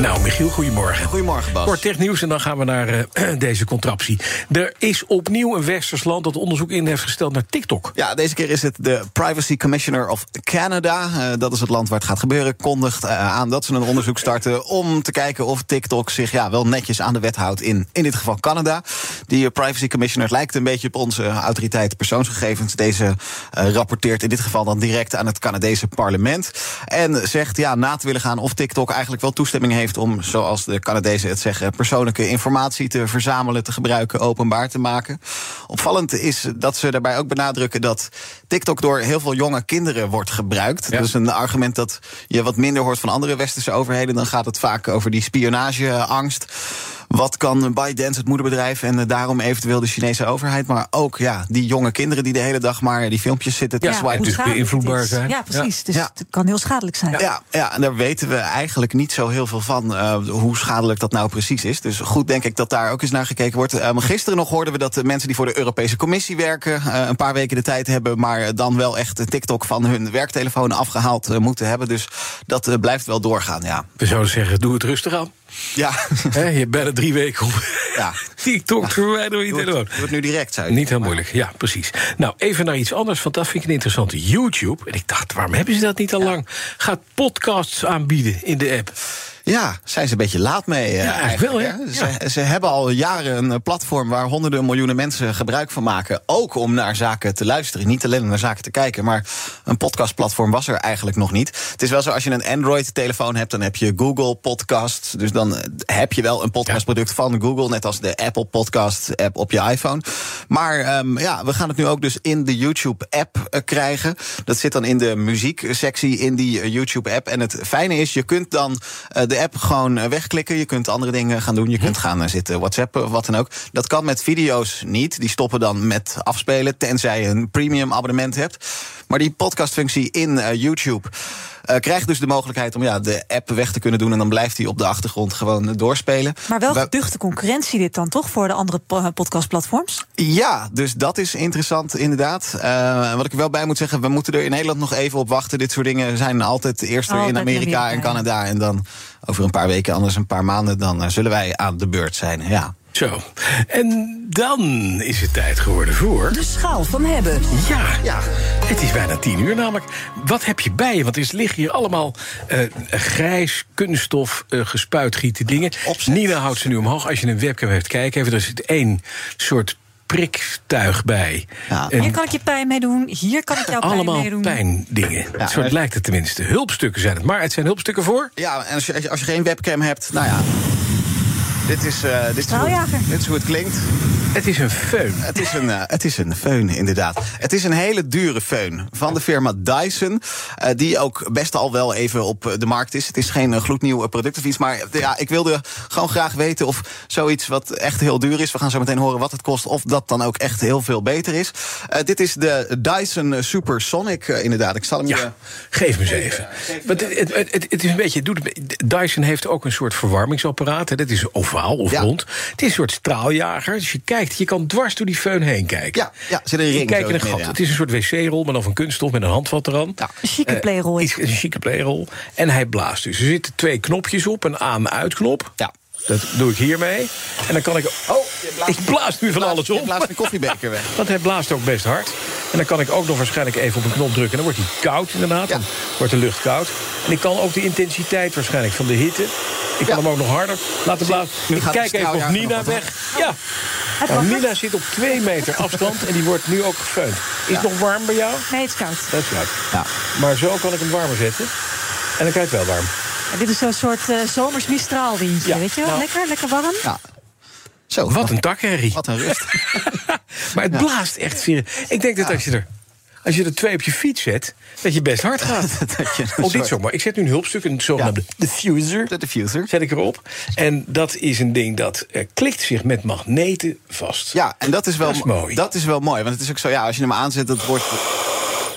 Nou, Michiel, goedemorgen. Goedemorgen, Bas. Kort technieuws en dan gaan we naar eh, deze contraptie. Er is opnieuw een westers land dat onderzoek in heeft gesteld naar TikTok. Ja, deze keer is het de Privacy Commissioner of Canada. eh, dat is het land waar het gaat gebeuren. Kondigt eh, aan dat ze een onderzoek starten om te kijken of TikTok zich ja, wel netjes aan de wet houdt in, in dit geval Canada. Die eh, Privacy Commissioner lijkt een beetje op onze autoriteit persoonsgegevens. Deze eh, rapporteert in dit geval dan direct aan het Canadese parlement. En zegt ja, na te willen gaan of TikTok eigenlijk wel toestemming heeft om, zoals de Canadezen het zeggen, persoonlijke informatie te verzamelen, te gebruiken, openbaar te maken. Opvallend is dat ze daarbij ook benadrukken dat TikTok door heel veel jonge kinderen wordt gebruikt. Ja. Dat is een argument dat je wat minder hoort van andere westerse overheden. Dan gaat het vaak over die spionageangst. Wat kan ByteDance, het moederbedrijf, en eh, daarom eventueel de Chinese overheid, maar ook ja, die jonge kinderen die de hele dag maar die filmpjes zitten te Ja, swipen. hoe dus schadelijk beïnvloedbaar het is. zijn. Ja, precies. Dus Ja. het kan heel schadelijk zijn. Ja, ja, en daar weten we eigenlijk niet zo heel veel van eh, hoe schadelijk dat nou precies is. Dus goed denk ik dat daar ook eens naar gekeken wordt. Ehm, gisteren nog hoorden we dat de mensen die voor de Europese Commissie werken eh, een paar weken de tijd hebben, maar dan wel echt de TikTok van hun werktelefoon afgehaald eh, moeten hebben. Dus dat eh, blijft wel doorgaan. Ja, We zouden zeggen, doe het rustig aan. ja. Hè, je bent er drie weken om Ja. TikTok te verwijderen van Doe je het, telefoon. doe het nu direct, zei ik. Niet heel moeilijk, ja, precies. Nou, even naar iets anders, want dat vind ik een interessant. YouTube, en ik dacht, waarom hebben ze dat niet al lang? Gaat podcasts aanbieden in de app. Ja, zijn ze een beetje laat mee. eh, eigenlijk wel, hè? Ze, ze hebben al jaren een eh, platform waar honderden miljoenen mensen gebruik van maken. Ook om naar zaken te luisteren. Niet alleen om naar zaken te kijken, maar een podcastplatform was er eigenlijk nog niet. Het is wel zo, als je een Android-telefoon hebt, dan heb je Google Podcasts. Dus dan eh, heb je wel een podcastproduct van Google, net als de Apple Podcast-app op je iPhone. Maar ehm, ja, we gaan het nu ook dus in de YouTube-app eh, krijgen. Dat zit dan in de muzieksectie in die eh, YouTube-app. En het fijne is, je kunt dan eh, de app gewoon eh, wegklikken. Je kunt andere dingen gaan doen. Je Hm. kunt gaan eh, zitten WhatsAppen of wat dan ook. Dat kan met video's niet. Die stoppen dan met afspelen, tenzij je een premium abonnement hebt. Maar die podcastfunctie in eh, YouTube. eh, krijgt dus de mogelijkheid om ja, de app weg te kunnen doen. En dan blijft die op de achtergrond gewoon eh, doorspelen. Maar wel We- geduchte concurrentie dit dan toch voor de andere po- eh, podcastplatforms? Ja, dus dat is interessant inderdaad. Eh, wat ik er wel bij moet zeggen, we moeten er in Nederland nog even op wachten. Dit soort dingen zijn altijd eerst weer in Altijd in Amerika en Amerika, ja. Canada. En dan over een paar weken, anders een paar maanden, dan eh, zullen wij aan de beurt zijn. Ja. Zo, en dan is het tijd geworden voor... De schaal van hebben. Ja, Ja. het is bijna tien uur namelijk. Wat heb je bij je? Want er liggen hier allemaal eh, grijs, kunststof, eh, gespuitgieten dingen. Opzet. Nina houdt ze nu omhoog. Als je een webcam hebt, kijk even. Er zit één soort priktuig bij. Ja. En Hier kan ik je pijn mee doen. Hier kan ik jou pijn allemaal mee doen. pijndingen. Ja, soort maar- lijkt het tenminste. Hulpstukken zijn het. Maar het zijn hulpstukken voor... Ja, en als je, als je- als je geen webcam hebt, nou ja. Dit is, eh, dit, is hoe, Straaljager. dit is hoe het klinkt. Het is een feun. Het is, een, eh, het is een föhn, inderdaad. Het is een hele dure föhn van de firma Dyson. eh, die ook best al wel even op eh, de markt is. Het is geen eh, gloednieuw eh, product of iets. Maar eh, ja, ik wilde gewoon graag weten of zoiets wat echt heel duur is. We gaan zo meteen horen wat het kost. Of dat dan ook echt heel veel beter is. Eh, dit is de Dyson Supersonic, eh, inderdaad. Ik zal hem je- Ja, geef me ze even. Want het, het, het, het is een beetje, het doet een be- Dyson heeft ook een soort verwarmingsapparaat. Hè. Dat is ovaal of Ja. rond. Het is een soort straaljager. Dus je kijkt, je kan dwars door die föhn heen kijken. Ja, ja, er zit een ring Je kijkt in zo een in het gat. midden, ja. Het is een soort wc-rol, maar dan van kunststof met een handvat eraan. Ja. Een chique Eh, playroll is iets- Een chique playrol. En hij blaast dus. Er zitten twee knopjes op, een aan-uitknop. Ja. Dat doe ik hiermee. En dan kan ik... Oh, ik blaas nu van Blaas- alles je op. blaast mijn koffiebeker weg. Want hij blaast ook best hard. En dan kan ik ook nog waarschijnlijk even op een knop drukken. En dan wordt hij koud inderdaad. Ja. Dan wordt de lucht koud. En ik kan ook de intensiteit waarschijnlijk van de hitte. Ik kan Ja. hem ook nog harder laten blazen. gaat de Kijk even of straaljager Nina nog wat weg. Ja. Hij Nou, pakt Nina zit op twee meter afstand en die wordt nu ook gefeund. Is het nog warm bij jou? Nee, het is koud. Dat is koud. Ja. Maar zo kan ik hem warmer zetten. En dan krijg je het wel warm. Ja, dit is zo'n soort eh, zomers mistraalwindje, Ja, weet je wel? nou. lekker, lekker warm. Ja. Zo, Wat een takherrie. wat een rust. Maar het blaast echt serieus. Ik denk dat als je er... Als je er twee op je fiets zet, dat je best hard gaat. Dat je een Oh, dit soort- zomaar. Ik zet nu een hulpstuk, een zogenaamde diffuser. De diffuser. Zet ik erop. En dat is een ding dat eh, klikt zich met magneten vast. Ja, en dat is wel Dat is mooi. Dat is wel mooi, want het is ook zo, ja, als je hem aanzet, dat wordt.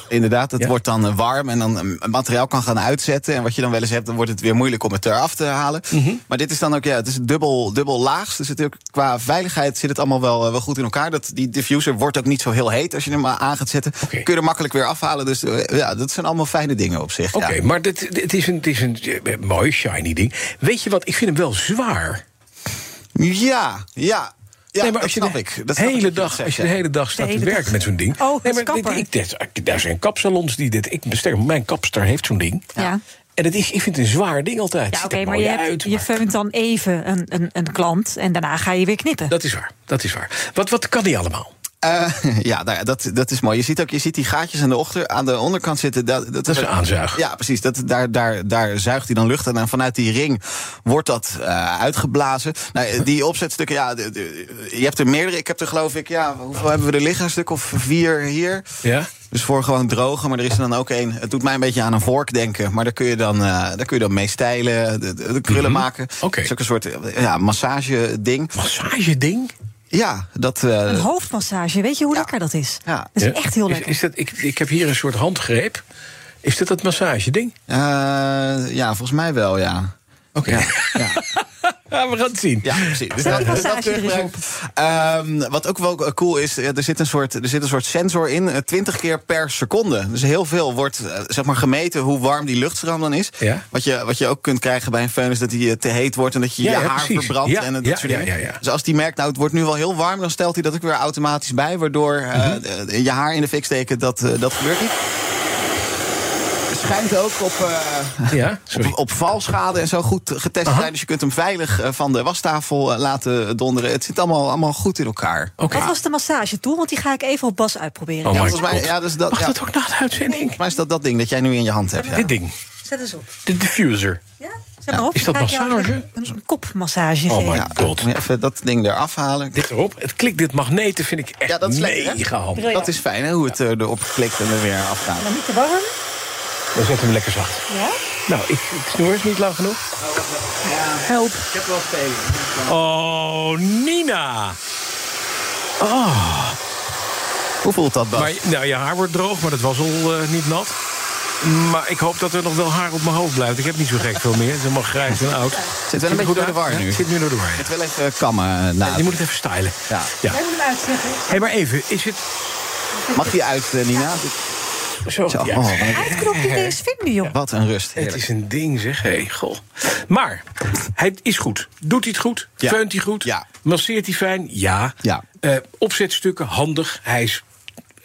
inderdaad. Het Ja. wordt dan eh, warm en dan eh, materiaal kan gaan uitzetten. En wat je dan wel eens hebt, dan wordt het weer moeilijk om het eraf te halen. Mhm. Maar dit is dan ook, ja, het is dubbel, dubbel laag. Dus het, ook qua veiligheid zit het allemaal wel, eh, wel goed in elkaar. Dat, die diffuser wordt ook niet zo heel heet als je hem eh, aan gaat zetten. Oké. Kun je er makkelijk weer afhalen. Dus eh, ja, dat zijn allemaal fijne dingen op zich. Oké, ja. maar dit, dit- het is een, het is een eh, mooi, shiny ding. Weet je wat, ik vind hem wel zwaar. Ja, ja. Ja, nee, maar dat als je snap de ik. Dat snap ik hele wat je dag, zegt, als je ja. de hele dag staat De te hele werken dag. met zo'n ding. Oh, het nee, is maar kapper. ik, ik- daar zijn kapsalons die dit. Ik bestel, mijn kapster heeft zo'n ding. Ja. En het is, ik vind het een zwaar ding altijd. Het Ja, ziet oké, er maar mooi je, hebt, uit, je maar- feunt dan even een, een, een klant en daarna ga je weer knippen. Dat is waar. Dat is waar. Wat, wat kan die allemaal? Eh, ja, nou ja, dat, dat is mooi. Je ziet ook je ziet die gaatjes aan de, ochter, aan de onderkant zitten. Dat, dat, is een aanzuig. Ja, precies. Dat, daar, daar, daar zuigt hij dan lucht aan. En vanuit die ring wordt dat eh, uitgeblazen. Nou, eh, die opzetstukken, ja, de- de- je hebt er meerdere. Ik heb er geloof ik, ja, hoeveel hebben we er liggen? Een stuk of vier hier. Ja? Dus voor gewoon drogen, maar er is er dan ook één. Het doet mij een beetje aan een vork denken. Maar daar kun je dan, eh, daar kun je dan mee stijlen, de, de- de krullen Mhm. maken. Oké. Het is ook een soort eh, ja, massageding. Massageding? Ja, dat... eh, Een hoofdmassage, weet je hoe lekker dat is? Ja. Dat is Ja. echt heel Is- lekker. Is, dat, ik, ik heb hier een soort handgreep. Is dat dat massageding? eh, ja, volgens mij wel, ja. Oké. Ja. Ja, we gaan het zien. Ja, precies. Dus Zet die dat- massage dat er eens gebruik- Ehm, wat ook wel cool is, eh, er zit een soort, er zit een soort sensor in, eh, 20 keer per seconde. Dus heel veel wordt eh, zeg maar, gemeten hoe warm die luchtstroom dan is. Ja. Wat, je, wat je ook kunt krijgen bij een föhn is dat die eh, te heet wordt en dat je Ja, je ja, haar precies. verbrandt Ja, en eh, dat ja, soort ja, dingen. ja, ja. Dus als die merkt, nou het wordt nu wel heel warm, dan stelt hij dat ook weer automatisch bij. Waardoor eh, Mhm. eh, je haar in de fik steken, dat, eh, dat gebeurt niet. Schijnt ook op... eh, Ja, sorry. op, op valschade en zo goed getest zijn. Dus je kunt hem veilig eh, van de wastafel eh, laten donderen. Het zit allemaal, allemaal goed in elkaar. Oké. Wat was de massage toe? Want die ga ik even op Bas uitproberen. Oh ja, my volgens mij- god. ja, dus dat- Mag ja. dat ook na de uitzending? Maar is dat dat ding dat jij nu in je hand hebt? Ja. Dit ding. Zet eens op. De diffuser. Ja? Zet maar op. Is dat Ga ik jou massage? Een, een kopmassage Oh geven. my Ja, god. moet je even dat ding eraf halen. Dit erop. Het klikt, dit magneten vind ik echt Ja, dat is lekker, hè? mega handig. Dat is fijn, hè, hoe het eh, erop klikt en er weer afgaat. Maar niet te warm. Dan zetten we hem lekker zacht. Ja? Nou, ik, ik snoer is niet lang genoeg. Help. Ik heb wel spelen. Oh, Nina. Oh. Hoe voelt dat, Bas? Maar, nou, je haar wordt droog, maar dat was al eh, niet nat. Maar ik hoop dat er nog wel haar op mijn hoofd blijft. Ik heb niet zo gek veel meer. Het is helemaal grijs en oud. Zit wel een beetje goed door de uit? war Ja, nu. het Zit nu door de war, ja. Het wel even kammen na. Je moet het even stylen. Ja. Jij ja. moet hem uitzetten. Hé, maar even, is het Mag die uit, eh, Nina? zo? Zo, Ja. oh, wat- Uitknop niet eens vinden, joh. wat een rust. Het heerlijk. is een ding, zeg. Hé, goh. Maar, hij is goed. Doet hij het goed? Ja. Veunt hij goed? Ja. Masseert hij fijn? Ja. Ja. Eh, opzetstukken, handig. Hij is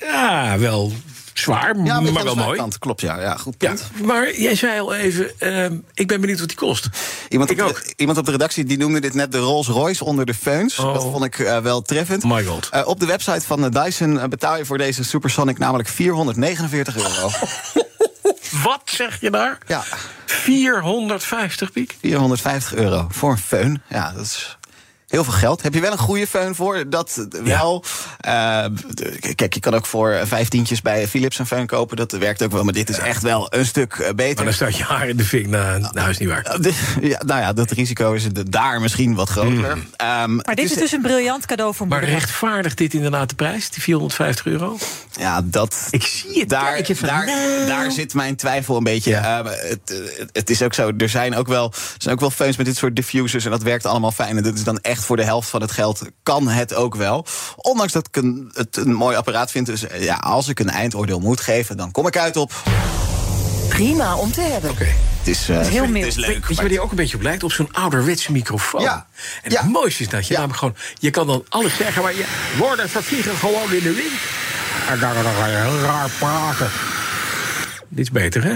ja, wel zwaar, Ja, maar, maar wel mooi. Klopt, ja. ja goed Ja, punt. maar jij zei al even, ehm, ik ben benieuwd wat die kost. Iemand, ik op ook. De, iemand op de redactie die noemde dit net de Rolls Royce onder de feuns. Oh. Dat vond ik eh, wel treffend. My god. Eh, op de website van eh, Dyson eh, betaal je voor deze Supersonic namelijk 449 euro. Wat zeg je daar? ja, 450 piek? 450 euro voor een föhn. Ja, dat is heel veel geld. Heb je wel een goede föhn voor? Dat eh, wel. Eh, d- kijk, je kan ook voor eh, vijftientjes bij Philips een föhn kopen. Dat werkt ook wel, maar dit is echt wel een stuk eh, beter. Maar dan staat je haar in de fik. Nou, nou is niet waar. Eh, de- ja, nou ja, dat risico is de- daar misschien wat groter. Hmm. Ehm, Maar dit is dus een briljant cadeau voor Maar moeder. rechtvaardigt dit inderdaad de prijs, die 450 euro? Ja, dat. Ik zie het Daar, kijken van, daar, nou. daar zit mijn twijfel een beetje. Eh, het, eh, het is ook zo. Er zijn ook wel, er zijn ook wel feuns met dit soort diffusers. En dat werkt allemaal fijn. En dat is dan echt voor de helft van het geld. Kan het ook wel. Ondanks dat ik een, het een mooi apparaat vind. Dus eh, ja, als ik een eindoordeel moet geven, dan kom ik uit op. Prima om te hebben. Het is, eh, heel het mild. is Weet- leuk. Weet je maar- waar die ook een beetje op lijkt? Op zo'n ouderwetse microfoon. Ja. En Ja. het mooiste is dat je Ja. namelijk gewoon... Je kan dan alles zeggen, maar je woorden vervliegen gewoon in de wind. En dan ga je heel raar praten. Dit is beter, hè?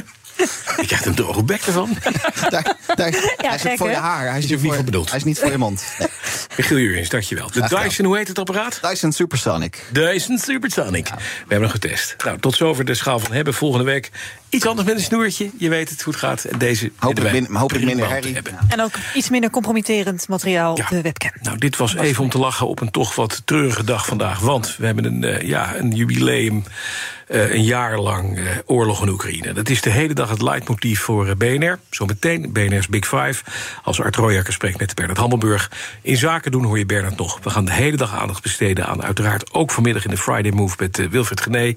Je krijgt een droge bek ervan. daar, daar, hij is gek, ook voor je hè? haar. Hij Is er is, niet niet voor, voor bedoeld. hij is niet voor je mond. Nee. Michiel Jurgens, dankjewel. De gedaan. Dyson, hoe heet het apparaat? Dyson Supersonic. Dyson Supersonic. We hebben nog getest. Nou, tot zover de schaal van hebben. Volgende week iets anders met een snoertje. Je weet het hoe het gaat. En Deze vinden wij min- hopelijk minder prima om te herrie. hebben. En ook iets minder compromitterend materiaal Ja. op de webcam. Nou, dit was even om te lachen op een toch wat treurige dag vandaag. Want we hebben een, eh, ja, een jubileum, eh, een jaar lang eh, oorlog in Oekraïne. Dat is de hele dag het leidmotief voor eh, BNR. Zometeen BNR's Big Five. Als Art Royakker spreekt met Bernard Hammelburg. In zaken doen hoor je Bernard nog. We gaan de hele dag aandacht besteden aan uiteraard ook vanmiddag in de Friday Move met eh, Wilfred Gené.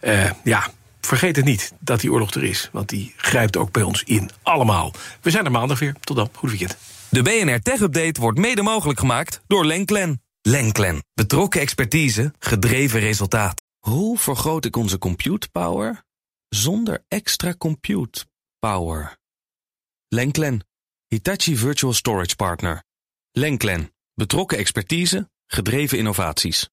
Eh, ja, vergeet het niet dat die oorlog er is. Want die grijpt ook bij ons in. Allemaal. We zijn er maandag weer. Tot dan. Goed weekend. De BNR Tech Update wordt mede mogelijk gemaakt door Lenklen. Lenklen. Betrokken expertise, gedreven resultaat. Hoe vergroot ik onze compute power zonder extra compute power? Lenklen. Hitachi Virtual Storage Partner. Lenklen. Betrokken expertise, gedreven innovaties.